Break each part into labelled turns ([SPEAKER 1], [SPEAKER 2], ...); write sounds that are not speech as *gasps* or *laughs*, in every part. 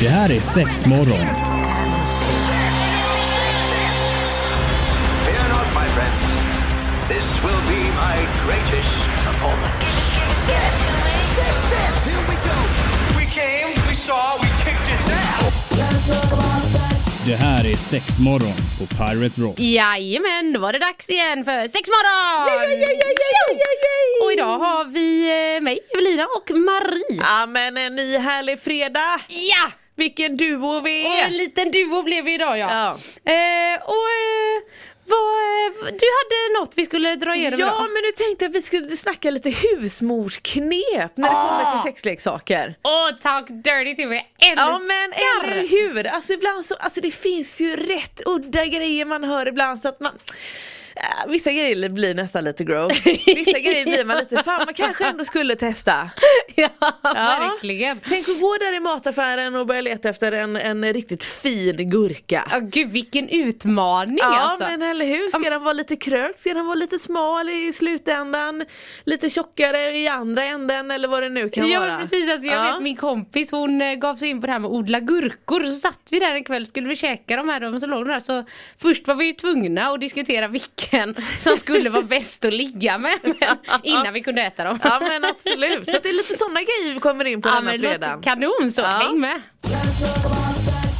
[SPEAKER 1] Det här är sex morgon.
[SPEAKER 2] Fear not, my friends. This will be my greatest performance.
[SPEAKER 3] Six, six, six. Here we go.
[SPEAKER 2] We came, we saw, we kicked its ass.
[SPEAKER 1] Det här är sex morgon på Pirate Rock.
[SPEAKER 4] Jajamän, då var det dags igen för Sexmorgon! Och idag har vi eh, mig, Evelina och Marie.
[SPEAKER 5] Ja men en ny härlig fredag!
[SPEAKER 4] Ja!
[SPEAKER 5] Vilken duo vi
[SPEAKER 4] Och en
[SPEAKER 5] är!
[SPEAKER 4] liten duo blev vi idag ja.
[SPEAKER 5] Ja.
[SPEAKER 4] Eh, och eh, vad, eh, du hade något vi skulle dra igenom
[SPEAKER 5] Ja
[SPEAKER 4] idag.
[SPEAKER 5] men nu tänkte jag att vi skulle snacka lite husmorsknep när det kommer till sexleksaker.
[SPEAKER 4] Åh, talk dirty till mig, älskar!
[SPEAKER 5] Ja men eller hur! Alltså ibland så, alltså det finns ju rätt udda grejer man hör ibland så att man äh, Vissa grejer blir nästan lite gross, vissa grejer blir man lite fan man kanske ändå skulle testa.
[SPEAKER 4] *laughs* ja,
[SPEAKER 5] Ja.
[SPEAKER 4] verkligen.
[SPEAKER 5] Tänk att gå där i mataffären och börja leta efter en, en riktigt fin gurka.
[SPEAKER 4] Ja, gud vilken utmaning
[SPEAKER 5] Ja
[SPEAKER 4] alltså.
[SPEAKER 5] men eller hur, ska den vara lite krökt, ska den vara lite smal i slutändan, lite tjockare i andra änden eller vad det nu kan
[SPEAKER 4] ja,
[SPEAKER 5] vara.
[SPEAKER 4] men precis, alltså, jag
[SPEAKER 5] Ja.
[SPEAKER 4] vet min kompis hon eh, gav sig in på det här med att odla gurkor så satt vi där en kväll skulle vi käka de här de så låg de där så först var vi ju tvungna att diskutera vilken som skulle vara bäst att ligga
[SPEAKER 5] *laughs*
[SPEAKER 4] med men, innan vi kunde äta dem.
[SPEAKER 5] Ja men absolut, så att det är lite sådana grejer vi kommer in på
[SPEAKER 4] Ja,
[SPEAKER 5] denna
[SPEAKER 4] men det låter
[SPEAKER 5] fredagen.
[SPEAKER 4] kanon så,
[SPEAKER 5] Ja.
[SPEAKER 4] häng med!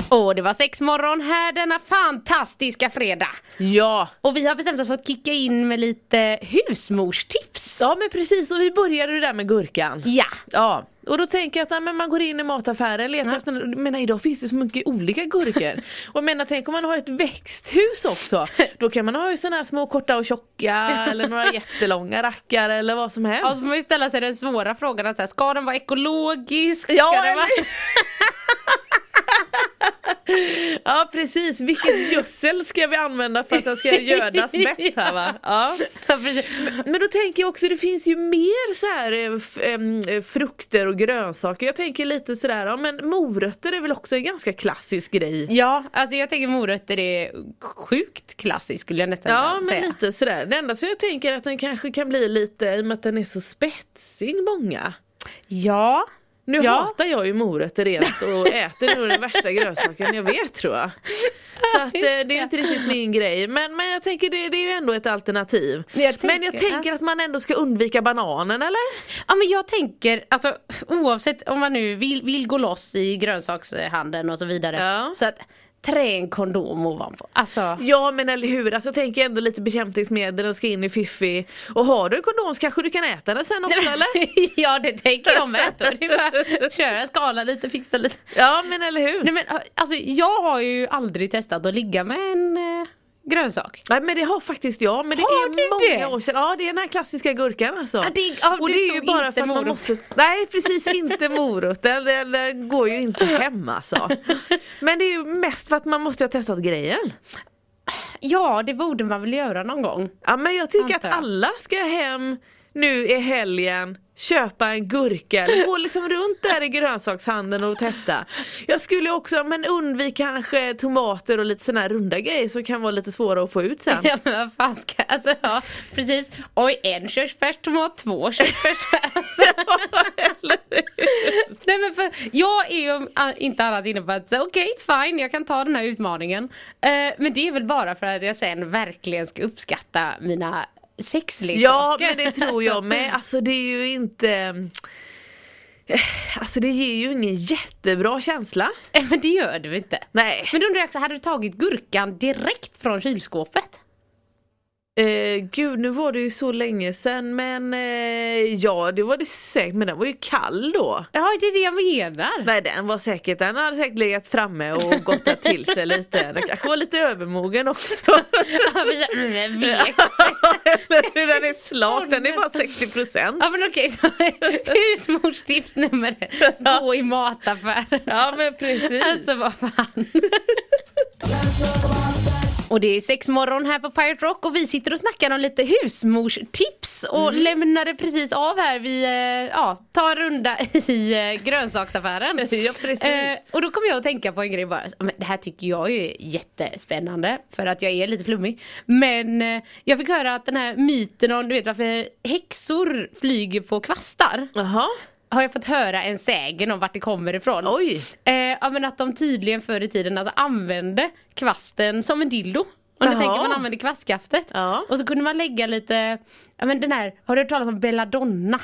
[SPEAKER 4] Och det var sex morgon här denna fantastiska fredag.
[SPEAKER 5] Ja.
[SPEAKER 4] Och vi har bestämt oss för att kicka in med lite husmorstips.
[SPEAKER 5] ja men precis och vi började ju där med gurkan.
[SPEAKER 4] Ja,
[SPEAKER 5] Ja, och då tänker jag att nej, men man går in i mataffären, letar efter, men idag finns det så mycket
[SPEAKER 4] *laughs*
[SPEAKER 5] olika gurkor. och jag menar tänk om man har ett växthus också, då kan man ha ju sådana här små korta
[SPEAKER 4] *laughs*
[SPEAKER 5] och tjocka eller några jättelånga rackare eller vad som helst.
[SPEAKER 4] och så får man ju ställa sig den svåra frågan, att så här, ska den vara ekologisk?
[SPEAKER 5] Ja,
[SPEAKER 4] ska den
[SPEAKER 5] eller
[SPEAKER 4] vara... *laughs*
[SPEAKER 5] Ja precis, vilket gödsel ska vi använda för att den ska gödas bäst här va? Ja.
[SPEAKER 4] Ja, precis.
[SPEAKER 5] Men då tänker jag också, det finns ju mer så här eh, f- em, eh, frukter och grönsaker. Jag tänker lite sådär, ja men morötter är väl också en ganska klassisk grej.
[SPEAKER 4] Ja, alltså jag tänker morötter är sjukt klassiskt skulle jag nästan
[SPEAKER 5] Ja men
[SPEAKER 4] säga.
[SPEAKER 5] lite sådär, det enda som jag tänker är att den kanske kan bli lite, i och med att den är så spetsig många.
[SPEAKER 4] Ja.
[SPEAKER 5] Nu
[SPEAKER 4] Ja.
[SPEAKER 5] hatar jag ju morötter rent *laughs* och äter nog den värsta grönsaken jag vet tror jag. Så att eh, det är inte riktigt min grej. Men, men jag tänker det, det är ju ändå ett alternativ.
[SPEAKER 4] Jag
[SPEAKER 5] men jag
[SPEAKER 4] tänker, ja.
[SPEAKER 5] tänker att man ändå ska undvika bananen eller?
[SPEAKER 4] ja men jag tänker, alltså oavsett om man nu vill, vill gå loss i grönsakshandeln och så vidare.
[SPEAKER 5] Ja.
[SPEAKER 4] Så att trä en kondom ovanpå. Alltså,
[SPEAKER 5] Ja men eller hur, alltså jag tänker ändå lite bekämpningsmedel och ska in i fiffi. Och har du en kondom så kanske du kan äta den sen *laughs* också eller?
[SPEAKER 4] *laughs* ja det tänker jag med. Då. Det är bara att köra, skala lite, fixa lite.
[SPEAKER 5] Ja men eller hur.
[SPEAKER 4] Nej men alltså jag har ju aldrig testat att ligga med en eh, grönsak.
[SPEAKER 5] Nej men det har faktiskt jag, men det
[SPEAKER 4] Har
[SPEAKER 5] är
[SPEAKER 4] du
[SPEAKER 5] många
[SPEAKER 4] det?
[SPEAKER 5] år sedan. Ja det är den här klassiska gurkan alltså.
[SPEAKER 4] Ja, det- ja,
[SPEAKER 5] och
[SPEAKER 4] du
[SPEAKER 5] det är ju
[SPEAKER 4] tog
[SPEAKER 5] bara
[SPEAKER 4] inte
[SPEAKER 5] för att man
[SPEAKER 4] morot.
[SPEAKER 5] måste, nej precis inte moroten, den, den går ju inte hem alltså. Men det är ju mest för att man måste ha testat grejen.
[SPEAKER 4] Ja det borde man väl göra någon gång.
[SPEAKER 5] Ja men jag tycker
[SPEAKER 4] Antar
[SPEAKER 5] att
[SPEAKER 4] jag.
[SPEAKER 5] alla ska hem nu i helgen köpa en gurka eller gå liksom runt där i grönsakshandeln och testa. Jag skulle också, men undvik kanske tomater och lite sådana här runda grejer som kan vara lite svåra att få ut sen.
[SPEAKER 4] *laughs* Ja men vad fan ska, alltså ja precis. Oj en körsbärstomat, två körsbärstomater. *laughs* Alltså,
[SPEAKER 5] Eller hur?
[SPEAKER 4] nej men för jag är ju a- inte annat inne på att säga okej fine jag kan ta den här utmaningen. Eh, men det är väl bara för att jag sen verkligen ska uppskatta mina sexleksaker.
[SPEAKER 5] Ja men det tror jag
[SPEAKER 4] Alltså, *laughs*
[SPEAKER 5] med. Alltså det är ju inte Alltså det ger ju ingen jättebra känsla.
[SPEAKER 4] eh, Men det gör du inte.
[SPEAKER 5] Nej.
[SPEAKER 4] Men då undrar jag också, hade du tagit gurkan direkt från kylskåpet?
[SPEAKER 5] Eh, gud nu var det ju så länge sedan men eh, ja det var det säkert men den var ju kall då.
[SPEAKER 4] Ja det är det jag menar.
[SPEAKER 5] Nej den var säkert, den hade säkert legat framme och gottat till sig lite. Den kanske var lite
[SPEAKER 4] *laughs*
[SPEAKER 5] övermogen också.
[SPEAKER 4] *laughs* Ja, men så- mm, vek.
[SPEAKER 5] Eller hur, den är slak, den är bara 60%.
[SPEAKER 4] Ja men okej, *laughs* så husmorstips nummer ett. Gå i mataffären.
[SPEAKER 5] Ja men precis.
[SPEAKER 4] Alltså vad fan. Och det är sex morgon här på Pirate Rock och vi sitter och snackar om lite husmorstips och
[SPEAKER 5] Mm.
[SPEAKER 4] lämnade precis av här. Vi eh, ja, tar en runda *laughs* i eh, grönsaksaffären.
[SPEAKER 5] *laughs* Ja, precis.
[SPEAKER 4] Eh, och då kommer jag att tänka på en grej bara. Men det här tycker jag ju är jättespännande för att jag är lite flummig. Men eh, jag fick höra att den här myten om du vet varför häxor flyger på kvastar.
[SPEAKER 5] Jaha.
[SPEAKER 4] har jag fått höra en sägen om vart det kommer ifrån.
[SPEAKER 5] Oj.
[SPEAKER 4] Eh, ja, men att de tydligen förr i tiden alltså använde kvasten som en dildo. Om ni
[SPEAKER 5] Jaha.
[SPEAKER 4] tänker man använde kvastskaftet.
[SPEAKER 5] Ja.
[SPEAKER 4] Och så kunde man lägga lite, ja men den här, har du hört talas om belladonna?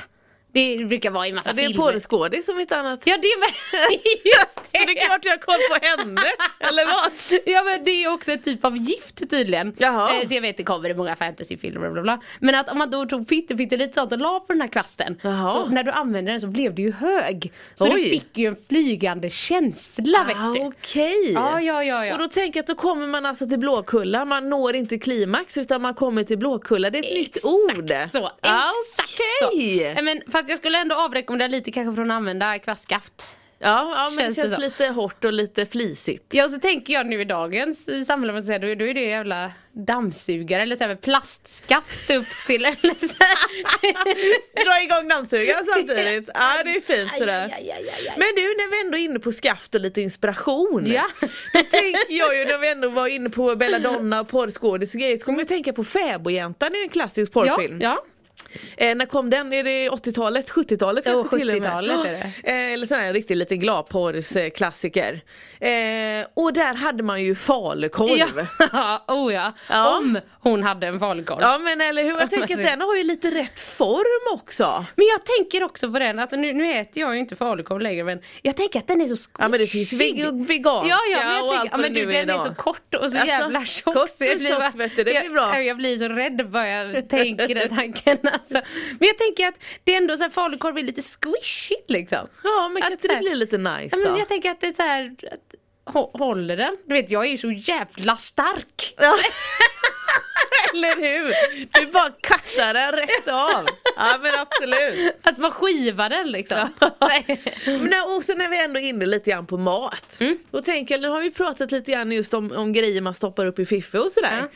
[SPEAKER 4] Det brukar vara i massa
[SPEAKER 5] Ja, det är en
[SPEAKER 4] filmer.
[SPEAKER 5] porrskådis som inte annat.
[SPEAKER 4] Ja det är med, *laughs* just
[SPEAKER 5] Så det är klart jag har koll
[SPEAKER 4] *laughs*
[SPEAKER 5] på henne, eller vad?
[SPEAKER 4] Ja men det är också en typ av gift tydligen.
[SPEAKER 5] Jaha.
[SPEAKER 4] Eh, Så jag vet det kommer i många fantasyfilmer bla bla bla. Men att om man då tog pytte pytte lite sånt och la på den här kvasten.
[SPEAKER 5] Jaha.
[SPEAKER 4] Så när du använde den så blev du ju hög. Så du
[SPEAKER 5] Oj.
[SPEAKER 4] fick ju en flygande känsla vet du.
[SPEAKER 5] Ah, Okej.
[SPEAKER 4] Ja ja ja ja.
[SPEAKER 5] Och då tänker jag att då kommer man alltså till Blåkulla, man når inte klimax utan man kommer till Blåkulla, det är ett nytt ord.
[SPEAKER 4] Exakt så.
[SPEAKER 5] Ja,
[SPEAKER 4] Exakt så.
[SPEAKER 5] Okej!
[SPEAKER 4] Eh, Men, fast jag skulle ändå avrekommendera lite kanske från att använda kvastskaft.
[SPEAKER 5] Ja, ja men
[SPEAKER 4] Känns
[SPEAKER 5] det
[SPEAKER 4] det
[SPEAKER 5] känns
[SPEAKER 4] så.
[SPEAKER 5] lite hårt och lite
[SPEAKER 4] *laughs*
[SPEAKER 5] flisigt.
[SPEAKER 4] Ja och så tänker jag nu i dagens i samhälle, man säger, då, då är det jävla dammsugare eller så här med plastskaft upp till *laughs* eller så här.
[SPEAKER 5] Dra igång dammsugaren samtidigt, ja det är fint sådär.
[SPEAKER 4] Aj, aj, aj, aj, aj.
[SPEAKER 5] Men du när vi ändå är inne på skaft och lite inspiration.
[SPEAKER 4] Ja.
[SPEAKER 5] *laughs* Då tänker jag ju när vi ändå var inne på belladonna och porrskådis och grejer så kommer jag att tänka på Fäbodjäntan, det är ju en klassisk porrfilm.
[SPEAKER 4] Ja,
[SPEAKER 5] Eh, när kom den? Är det 80-talet? 70-talet?
[SPEAKER 4] Jo,
[SPEAKER 5] kanske till och med?
[SPEAKER 4] 70-talet är det.
[SPEAKER 5] Ja, Eh, eller sån här riktigt liten gladporrsklassiker. Eh, och där hade man ju
[SPEAKER 4] ja.
[SPEAKER 5] falukorv. Ja.
[SPEAKER 4] ja. *laughs* Oh, ja.
[SPEAKER 5] Ja.
[SPEAKER 4] Om hon hade en falukorv.
[SPEAKER 5] men eller hur,
[SPEAKER 4] Ja,
[SPEAKER 5] jag tänker att
[SPEAKER 4] precis.
[SPEAKER 5] den har ju lite rätt form också.
[SPEAKER 4] Men jag tänker också på den, alltså nu, nu äter jag ju inte falukorv längre men jag tänker att den är så squishig.
[SPEAKER 5] Ja men det finns veg- veganska
[SPEAKER 4] Ja, ja, men
[SPEAKER 5] och
[SPEAKER 4] jag tänker,
[SPEAKER 5] allt
[SPEAKER 4] ja,
[SPEAKER 5] vad
[SPEAKER 4] men
[SPEAKER 5] det
[SPEAKER 4] du,
[SPEAKER 5] nu är
[SPEAKER 4] den är
[SPEAKER 5] idag.
[SPEAKER 4] så kort och så
[SPEAKER 5] Alltså,
[SPEAKER 4] jävla tjock.
[SPEAKER 5] kort
[SPEAKER 4] så jag
[SPEAKER 5] och
[SPEAKER 4] blir
[SPEAKER 5] tjock,
[SPEAKER 4] bara-
[SPEAKER 5] vet du, det blir bra.
[SPEAKER 4] Jag, jag blir så rädd bara jag tänker den tanken. Alltså. Men jag tänker att det är ändå så här, falukorv är lite squishigt liksom.
[SPEAKER 5] Ja men kan
[SPEAKER 4] Att
[SPEAKER 5] inte
[SPEAKER 4] så
[SPEAKER 5] det
[SPEAKER 4] här-
[SPEAKER 5] bli lite nice
[SPEAKER 4] Ja,
[SPEAKER 5] då?
[SPEAKER 4] men jag tänker att det är så här, att, hå- håller den? Du vet jag är ju så jävla stark. *laughs*
[SPEAKER 5] Ja. *laughs* eller hur, du bara kassar den rätt av. Ja men absolut.
[SPEAKER 4] Att man skivar den liksom. *laughs* Nej.
[SPEAKER 5] Men när- och sen när vi ändå är inne lite grann på mat.
[SPEAKER 4] Mm.
[SPEAKER 5] Då tänker jag, nu har vi pratat lite grann just om, om grejer man stoppar upp i fiffe och sådär.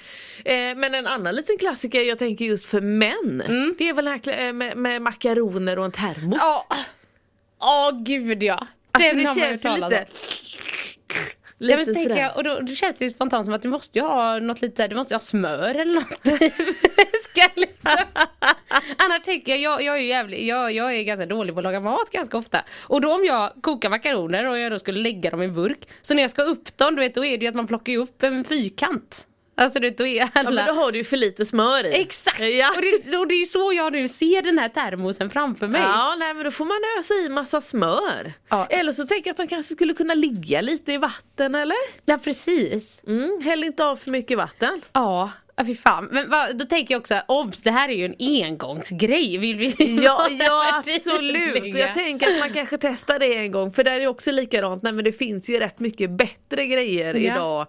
[SPEAKER 5] Eh, men en annan liten klassiker jag tänker just för män. Det är väl den här kla- eh, med, med makaroner och en termos.
[SPEAKER 4] Mm. Ja. Åh gud ja.
[SPEAKER 5] Alltså,
[SPEAKER 4] Den
[SPEAKER 5] det
[SPEAKER 4] har man ju
[SPEAKER 5] känns ju
[SPEAKER 4] talat
[SPEAKER 5] lite...
[SPEAKER 4] om.
[SPEAKER 5] Lite
[SPEAKER 4] Ja, men så tänker
[SPEAKER 5] sådär.
[SPEAKER 4] jag, och då, då känns det ju spontant som att du måste ju ha något lite, du måste ju ha smör eller något.
[SPEAKER 5] *laughs*
[SPEAKER 4] Ska liksom. Annars tänker jag, jag, jag är ju jävlig, jag, jag är ganska dålig på att laga mat ganska ofta. Och då om jag kokar makaroner och jag då skulle lägga dem i en burk. Så när jag ska upp dem, du vet, då är det ju att man plockar ju upp en fyrkant. Alltså du vet, då är
[SPEAKER 5] Ja,
[SPEAKER 4] alla...
[SPEAKER 5] men då har du ju för lite smör i. Eh,
[SPEAKER 4] Exakt!
[SPEAKER 5] Ja.
[SPEAKER 4] Och, det, och det är ju så jag nu ser den här termosen framför mig.
[SPEAKER 5] Ja, nej, men då får man ösa i massa smör.
[SPEAKER 4] Ja.
[SPEAKER 5] Eller så tänker jag att de kanske skulle kunna ligga lite i vatten eller?
[SPEAKER 4] ja precis.
[SPEAKER 5] Mm, häll inte av för mycket vatten.
[SPEAKER 4] Ja, ja, fy fan. Men vad, då tänker jag också, obs det här är ju en engångsgrej. Vill vi *laughs*
[SPEAKER 5] Ja,
[SPEAKER 4] vara
[SPEAKER 5] ja absolut.
[SPEAKER 4] tydliga?
[SPEAKER 5] Och Jag tänker att man kanske testar det en gång för där är det också likadant. Nej, men det finns ju rätt mycket bättre grejer
[SPEAKER 4] Ja.
[SPEAKER 5] idag.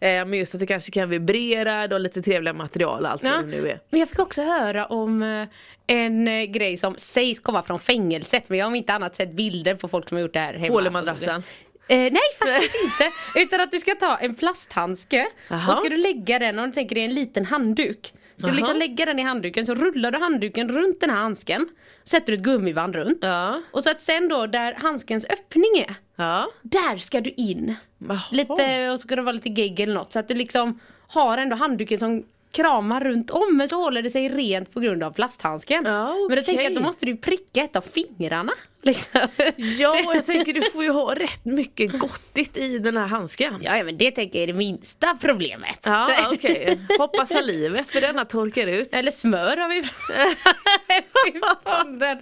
[SPEAKER 5] Eh, men just att det kanske kan vibrera och lite trevliga material och allt
[SPEAKER 4] Ja.
[SPEAKER 5] vad det nu är.
[SPEAKER 4] Men jag fick också höra om eh, en eh, grej som sägs komma från fängelset men jag har om inte annat sett bilder på folk som har gjort det här hemma.
[SPEAKER 5] Hål i madrassen.
[SPEAKER 4] Eh, nej faktiskt inte. Utan att du ska ta en plasthandske
[SPEAKER 5] Jaha.
[SPEAKER 4] och ska du lägga den, om du tänker dig en liten handduk. Ska du
[SPEAKER 5] Jaha.
[SPEAKER 4] liksom lägga den i handduken så rullar du handduken runt den här handsken. Sätter du ett gummiband runt.
[SPEAKER 5] Ja.
[SPEAKER 4] Och så att sen då där handskens öppning är,
[SPEAKER 5] Ja.
[SPEAKER 4] där ska du in.
[SPEAKER 5] Jaha.
[SPEAKER 4] Lite, och så ska det vara lite gegg eller något så att du liksom har ändå handduken som kramar runt om men så håller det sig rent på grund av plasthandsken.
[SPEAKER 5] Ja,
[SPEAKER 4] Men då tänker jag
[SPEAKER 5] okej.
[SPEAKER 4] att då måste du ju pricka ett av fingrarna. Liksom.
[SPEAKER 5] *laughs* Ja,
[SPEAKER 4] *laughs*
[SPEAKER 5] och jag tänker du får ju ha rätt mycket gottigt i den här handsken. Ja.
[SPEAKER 4] Ja, ja men det tänker jag är det minsta problemet. *laughs*
[SPEAKER 5] Ja okej, hoppa salivet för denna torkar ut.
[SPEAKER 4] Eller smör har vi
[SPEAKER 5] *laughs*
[SPEAKER 4] Fy fan, den.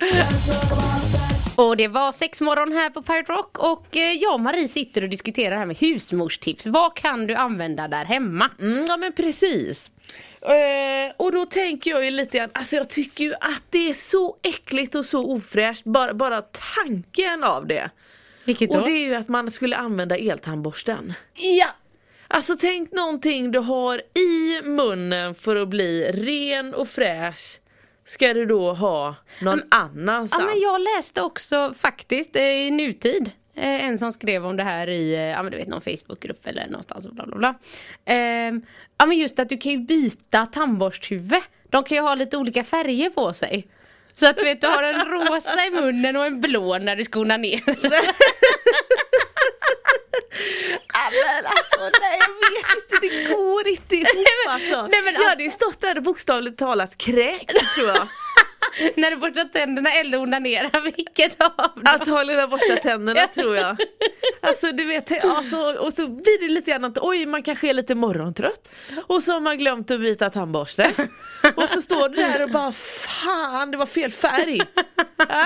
[SPEAKER 4] Och det var sex morgon här på Pirate Rock och eh, jag och Marie sitter och diskuterar det här med husmorstips. Vad kan du använda där hemma?
[SPEAKER 5] Mm, ja men precis. Eh, och då tänker jag ju lite grann, alltså jag tycker ju att det är så äckligt och så ofräscht, bara, bara tanken av det.
[SPEAKER 4] Vilket
[SPEAKER 5] Och det är ju att man skulle använda eltandborsten.
[SPEAKER 4] Ja!
[SPEAKER 5] Alltså tänk någonting du har i munnen för att bli ren och fräsch. Ska du då ha någon annanstans?
[SPEAKER 4] ja men jag läste också faktiskt eh, i nutid eh, en som skrev om det här i eh, ja, men du vet, någon Facebookgrupp eller någonstans. och Bla, bla, bla. Ehm, ja men just att du kan ju byta tandborsthuvud. De kan ju ha lite olika färger på sig. Så att du vet, du har en rosa i munnen och en blå när du skonar ner. *laughs*
[SPEAKER 5] Ja, men alltså, nej jag vet inte, det går inte ihop alltså.
[SPEAKER 4] *laughs* nej, men
[SPEAKER 5] Jag hade ju stått där och bokstavligt talat kräkt tror jag.
[SPEAKER 4] När du borstar tänderna eller onanerar, *laughs* vilket av dem?
[SPEAKER 5] Att hålla borsta
[SPEAKER 4] *laughs*
[SPEAKER 5] tänderna tror jag. Alltså du vet, alltså, och så blir det lite grann att oj man kanske är lite morgontrött och så har man glömt att byta tandborste. Och så står du där och bara fan det var fel färg. Äh?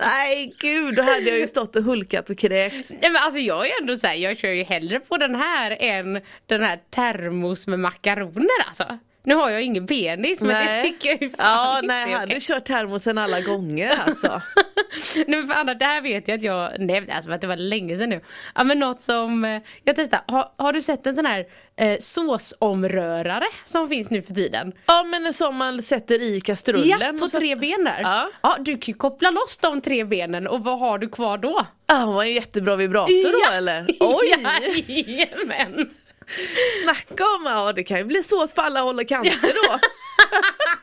[SPEAKER 5] Nej gud, då hade jag ju stått och hulkat och kräkts.
[SPEAKER 4] Nej men alltså jag är ändå så här, jag kör ju hellre på den här än den här termos med makaroner alltså. Nu har jag ju ingen penis men det tycker jag ju
[SPEAKER 5] Ja,
[SPEAKER 4] fan inte
[SPEAKER 5] nej,
[SPEAKER 4] är
[SPEAKER 5] jag hade
[SPEAKER 4] okej.
[SPEAKER 5] kört termosen alla gånger alltså.
[SPEAKER 4] *laughs* Nej men för Anna, det här vet jag att jag nämnde, alltså för att det var länge sedan nu. Ja men något som, eh, jag testar, har, har du sett en sån här eh, såsomrörare som finns nu för tiden?
[SPEAKER 5] Ja men som man sätter i kastrullen.
[SPEAKER 4] Ja, på
[SPEAKER 5] och så-
[SPEAKER 4] tre ben där.
[SPEAKER 5] Ja.
[SPEAKER 4] ja, du kan ju koppla loss de tre benen och vad har du kvar då?
[SPEAKER 5] Ja, hon Ah, var en jättebra vibrator
[SPEAKER 4] *laughs*
[SPEAKER 5] då eller? Oj!
[SPEAKER 4] Jajamän!
[SPEAKER 5] Snacka om, ja det kan ju bli sås på alla håll och kanter då. *laughs*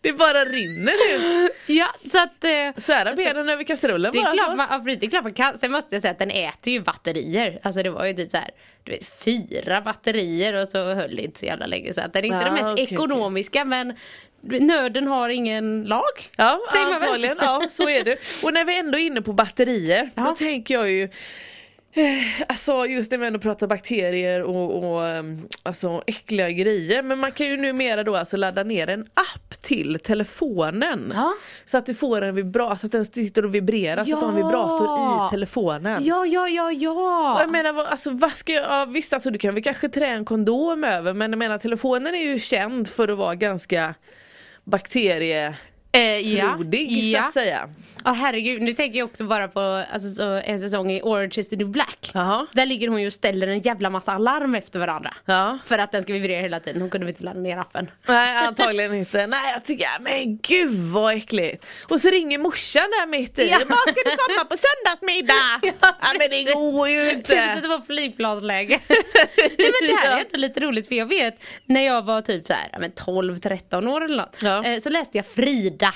[SPEAKER 5] det bara rinner ut.
[SPEAKER 4] Ja, så att eh,
[SPEAKER 5] Svära benen över kastrullen
[SPEAKER 4] det,
[SPEAKER 5] bara.
[SPEAKER 4] är
[SPEAKER 5] så.
[SPEAKER 4] klart man, ja, precis, det är klart man kan. Sen måste jag säga att den äter ju batterier. Alltså det var ju typ så här, du vet, fyra batterier och så höll det inte så jävla länge. Så att den är inte
[SPEAKER 5] Ah,
[SPEAKER 4] den mest
[SPEAKER 5] okej, okej.
[SPEAKER 4] ekonomiska men nöden har ingen lag.
[SPEAKER 5] Ja,
[SPEAKER 4] säger man väl?
[SPEAKER 5] antagligen. Ja, så är det. Och när vi ändå är inne på batterier,
[SPEAKER 4] Ja.
[SPEAKER 5] då tänker jag ju eh, Alltså just när vi ändå pratar bakterier och, och ehm, alltså, äckliga grejer. Men man kan ju numera då alltså ladda ner en app till telefonen.
[SPEAKER 4] Ja.
[SPEAKER 5] Så att du får en vibrator, så att den sitter och vibrerar så att du har en
[SPEAKER 4] Ja.
[SPEAKER 5] vibrator i
[SPEAKER 4] *laughs*
[SPEAKER 5] telefonen.
[SPEAKER 4] Ja, ja, ja,
[SPEAKER 5] Och
[SPEAKER 4] ja.
[SPEAKER 5] Jag menar vad, alltså, vad ska jag, ja, visst alltså du kan väl kanske trä en kondom över men jag menar telefonen är ju känd för att vara ganska bakteriefrodig
[SPEAKER 4] Eh, ja.
[SPEAKER 5] så att säga.
[SPEAKER 4] Ja herregud, nu tänker jag också bara på alltså, så en säsong i Orange is the new black.
[SPEAKER 5] Jaha.
[SPEAKER 4] Där ligger hon ju och ställer en jävla massa alarm efter varandra.
[SPEAKER 5] Ja.
[SPEAKER 4] För att den ska vibrera hela tiden, hon kunde väl inte ladda ner appen.
[SPEAKER 5] Nej antagligen inte. Nej jag tycker, men gud vad äckligt. Och så ringer morsan där mitt i.
[SPEAKER 4] Ja.
[SPEAKER 5] Vad ska du komma på söndagsmiddag?
[SPEAKER 4] *laughs* Ja,
[SPEAKER 5] ja men det
[SPEAKER 4] *laughs*
[SPEAKER 5] går ju
[SPEAKER 4] Känns att
[SPEAKER 5] inte.
[SPEAKER 4] det var
[SPEAKER 5] *laughs*
[SPEAKER 4] flygplansläge. Nej men det här är ändå lite roligt för jag vet när jag var typ så här, ja, men 12-13 år eller något.
[SPEAKER 5] Ja.
[SPEAKER 4] eh, Så läste jag
[SPEAKER 5] *gasps*
[SPEAKER 4] Frida,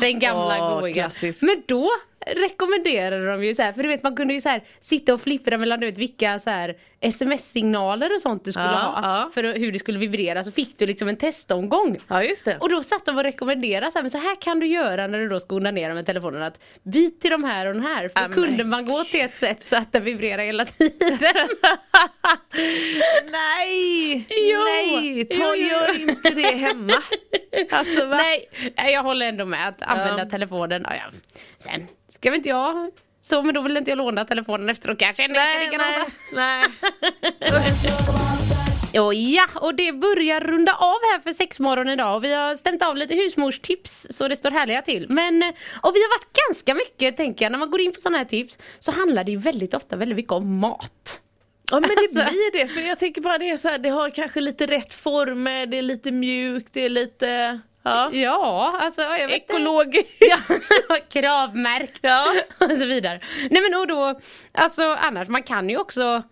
[SPEAKER 4] den gamla
[SPEAKER 5] Åh,
[SPEAKER 4] godingen.
[SPEAKER 5] klassisk.
[SPEAKER 4] Men då rekommenderade de ju så här, för du vet man kunde ju så här sitta och flippra mellan du vet vilka så här sms-signaler och sånt du skulle
[SPEAKER 5] Ja,
[SPEAKER 4] ha.
[SPEAKER 5] ja.
[SPEAKER 4] För hur det skulle vibrera så fick du liksom en testomgång.
[SPEAKER 5] Ja just det.
[SPEAKER 4] Och då satt de och rekommenderade så här, men så här kan du göra när du då ska onanera med telefonen att byt till de här och den här. För då
[SPEAKER 5] Ah,
[SPEAKER 4] kunde
[SPEAKER 5] men
[SPEAKER 4] man gå till ett sätt så att den vibrerar hela
[SPEAKER 5] *laughs*
[SPEAKER 4] tiden. *laughs*
[SPEAKER 5] Nej!
[SPEAKER 4] Jo.
[SPEAKER 5] Nej! Ta,
[SPEAKER 4] Jo, jo, jo.
[SPEAKER 5] gör inte det hemma.
[SPEAKER 4] *laughs*
[SPEAKER 5] Alltså va?
[SPEAKER 4] Nej, nej, jag håller ändå med att använda
[SPEAKER 5] Ja.
[SPEAKER 4] telefonen. Ja, ja. Sen ska väl inte jag så men då vill inte jag låna telefonen efteråt kanske.
[SPEAKER 5] nej, nej, nej.
[SPEAKER 4] *laughs* Och ja, och det börjar runda av här för sexmorgon idag och vi har stämt av lite husmorstips så det står härliga till. Men, eh, och vi har varit ganska mycket tänker jag, när man går in på sådana här tips så handlar det ju väldigt ofta väldigt mycket om mat.
[SPEAKER 5] Ja men det
[SPEAKER 4] Alltså.
[SPEAKER 5] blir det, för jag tänker bara det är så här, det har kanske lite rätt former, det är lite mjukt, det är lite ja,
[SPEAKER 4] Ja, alltså jag vet inte.
[SPEAKER 5] ekologiskt.
[SPEAKER 4] Ja, *laughs* kravmärkt
[SPEAKER 5] Ja.
[SPEAKER 4] och så vidare. Nej men och då, alltså annars man kan ju också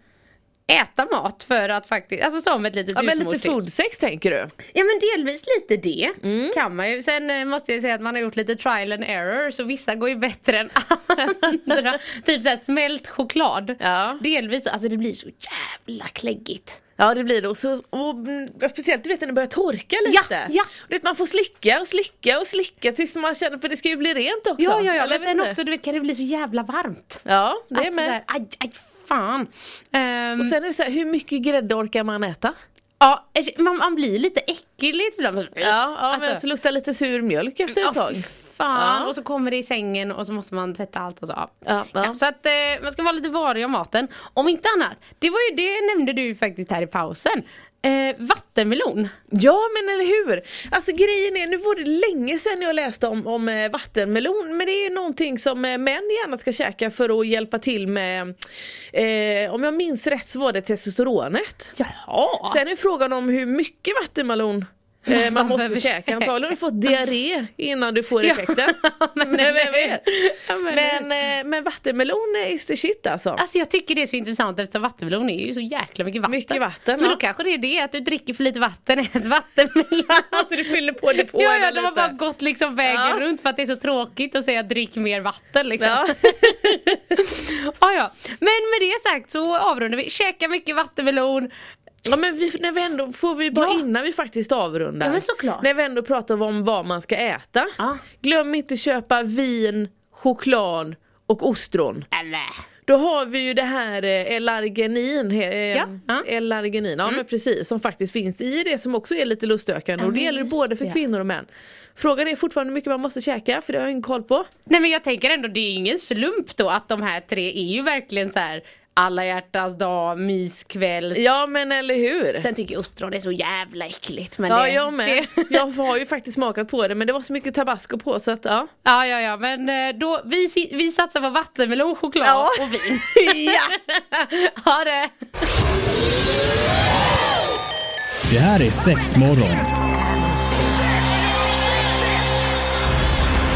[SPEAKER 4] äta mat för att faktiskt, alltså som ett litet
[SPEAKER 5] Ja men lite
[SPEAKER 4] husmorstips.
[SPEAKER 5] foodsex tänker du?
[SPEAKER 4] Ja men delvis lite det
[SPEAKER 5] Mm.
[SPEAKER 4] kan man ju. Sen eh, måste jag säga att man har gjort lite trial and error så vissa går ju bättre än *laughs* andra. typ såhär smält choklad.
[SPEAKER 5] Ja.
[SPEAKER 4] Delvis, alltså det blir så jävla kläggigt.
[SPEAKER 5] Ja det blir det och, så, och mm, speciellt du vet när det börjar torka lite.
[SPEAKER 4] Ja, ja.
[SPEAKER 5] Du vet, man får slicka och slicka och slicka tills man känner, för det ska ju bli rent också.
[SPEAKER 4] Ja ja ja
[SPEAKER 5] Eller
[SPEAKER 4] men
[SPEAKER 5] vet
[SPEAKER 4] sen
[SPEAKER 5] inte.
[SPEAKER 4] också du vet kan det bli så jävla varmt.
[SPEAKER 5] Ja det är
[SPEAKER 4] Att
[SPEAKER 5] med.
[SPEAKER 4] sådär, Aj, aj fan. Ehm,
[SPEAKER 5] Och sen är det så här, hur mycket grädde orkar man äta?
[SPEAKER 4] Mm. ja, man, man blir lite äcklig ibland.
[SPEAKER 5] Ja, ja men så luktar lite sur mjölk efter ett
[SPEAKER 4] Alltså- Ja,
[SPEAKER 5] tag.
[SPEAKER 4] fy fan.
[SPEAKER 5] Ja.
[SPEAKER 4] Och så kommer det i sängen och så måste man tvätta allt och så. Ja.
[SPEAKER 5] Ja, ja.
[SPEAKER 4] Så att eh, man ska vara lite varig om maten. Om inte annat, det var ju det nämnde du faktiskt här i pausen. Eh, vattenmelon.
[SPEAKER 5] Ja men eller hur! Alltså grejen är, nu var det länge sedan jag läste om, om eh, vattenmelon men det är ju någonting som eh, män gärna ska käka för att hjälpa till med eh, Om jag minns rätt så var det testosteronet.
[SPEAKER 4] Jaha.
[SPEAKER 5] Sen är frågan om hur mycket vattenmelon eh, man
[SPEAKER 4] behöver
[SPEAKER 5] måste käka. Antagligen har du fått diarré innan du
[SPEAKER 4] *laughs*
[SPEAKER 5] får
[SPEAKER 4] Ja.
[SPEAKER 5] effekten. *laughs*
[SPEAKER 4] Men
[SPEAKER 5] men,
[SPEAKER 4] eller
[SPEAKER 5] vem
[SPEAKER 4] hur?
[SPEAKER 5] vet?
[SPEAKER 4] Ja, men eller hur?
[SPEAKER 5] men, eh, men vattenmelon is the shit alltså.
[SPEAKER 4] Alltså jag tycker det är så intressant eftersom vattenmelon är ju så jäkla mycket vatten.
[SPEAKER 5] Mycket vatten,
[SPEAKER 4] Men då
[SPEAKER 5] ja.
[SPEAKER 4] kanske det är det att du dricker för lite vatten *laughs* i ett vattenmelon.
[SPEAKER 5] *laughs* Alltså, du fyller på det på
[SPEAKER 4] Ja,
[SPEAKER 5] henne
[SPEAKER 4] ja de har
[SPEAKER 5] lite.
[SPEAKER 4] bara gått liksom vägen
[SPEAKER 5] Ja.
[SPEAKER 4] runt för att det är så tråkigt att säga drick mer vatten liksom. *laughs*
[SPEAKER 5] Ja.
[SPEAKER 4] ja, ja. Men med det sagt så avrundar vi. Käka mycket vattenmelon.
[SPEAKER 5] Ja men vi, när vi ändå, får vi bara
[SPEAKER 4] Ja.
[SPEAKER 5] innan vi faktiskt avrundar.
[SPEAKER 4] Ja, men såklart.
[SPEAKER 5] När vi ändå pratar om vad man ska äta.
[SPEAKER 4] Ja.
[SPEAKER 5] Glöm inte köpa vin, choklad och ostron.
[SPEAKER 4] Eller?
[SPEAKER 5] Då har vi ju det här eh, L-arginin. eh,
[SPEAKER 4] Ja, ja. Mm.
[SPEAKER 5] L-arginin, ja men precis. Som faktiskt finns i det som också är lite lustökande.
[SPEAKER 4] Ja,
[SPEAKER 5] och det
[SPEAKER 4] men
[SPEAKER 5] gäller
[SPEAKER 4] just
[SPEAKER 5] både för
[SPEAKER 4] det.
[SPEAKER 5] kvinnor och män. Frågan är fortfarande hur mycket man måste käka för det har jag ingen koll på.
[SPEAKER 4] Nej men jag tänker ändå det är ingen slump då att de här tre är ju verkligen så här alla hjärtans dag, myskväll.
[SPEAKER 5] Ja men eller hur.
[SPEAKER 4] Sen tycker jag ostron är så jävla äckligt. Men
[SPEAKER 5] ja
[SPEAKER 4] det,
[SPEAKER 5] jag med.
[SPEAKER 4] Det,
[SPEAKER 5] jag har ju faktiskt smakat på det men det var så mycket tabasco på så att ja.
[SPEAKER 4] ja, ja, ja, men eh, då, vi, si- vi satsar på vattenmelon, choklad
[SPEAKER 5] Ja.
[SPEAKER 4] och vin.
[SPEAKER 5] *laughs* ja.
[SPEAKER 4] *laughs* ha det!
[SPEAKER 1] Det här är sex morgon.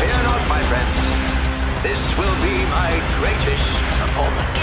[SPEAKER 2] Fear not, my friends. This will be my greatest performance.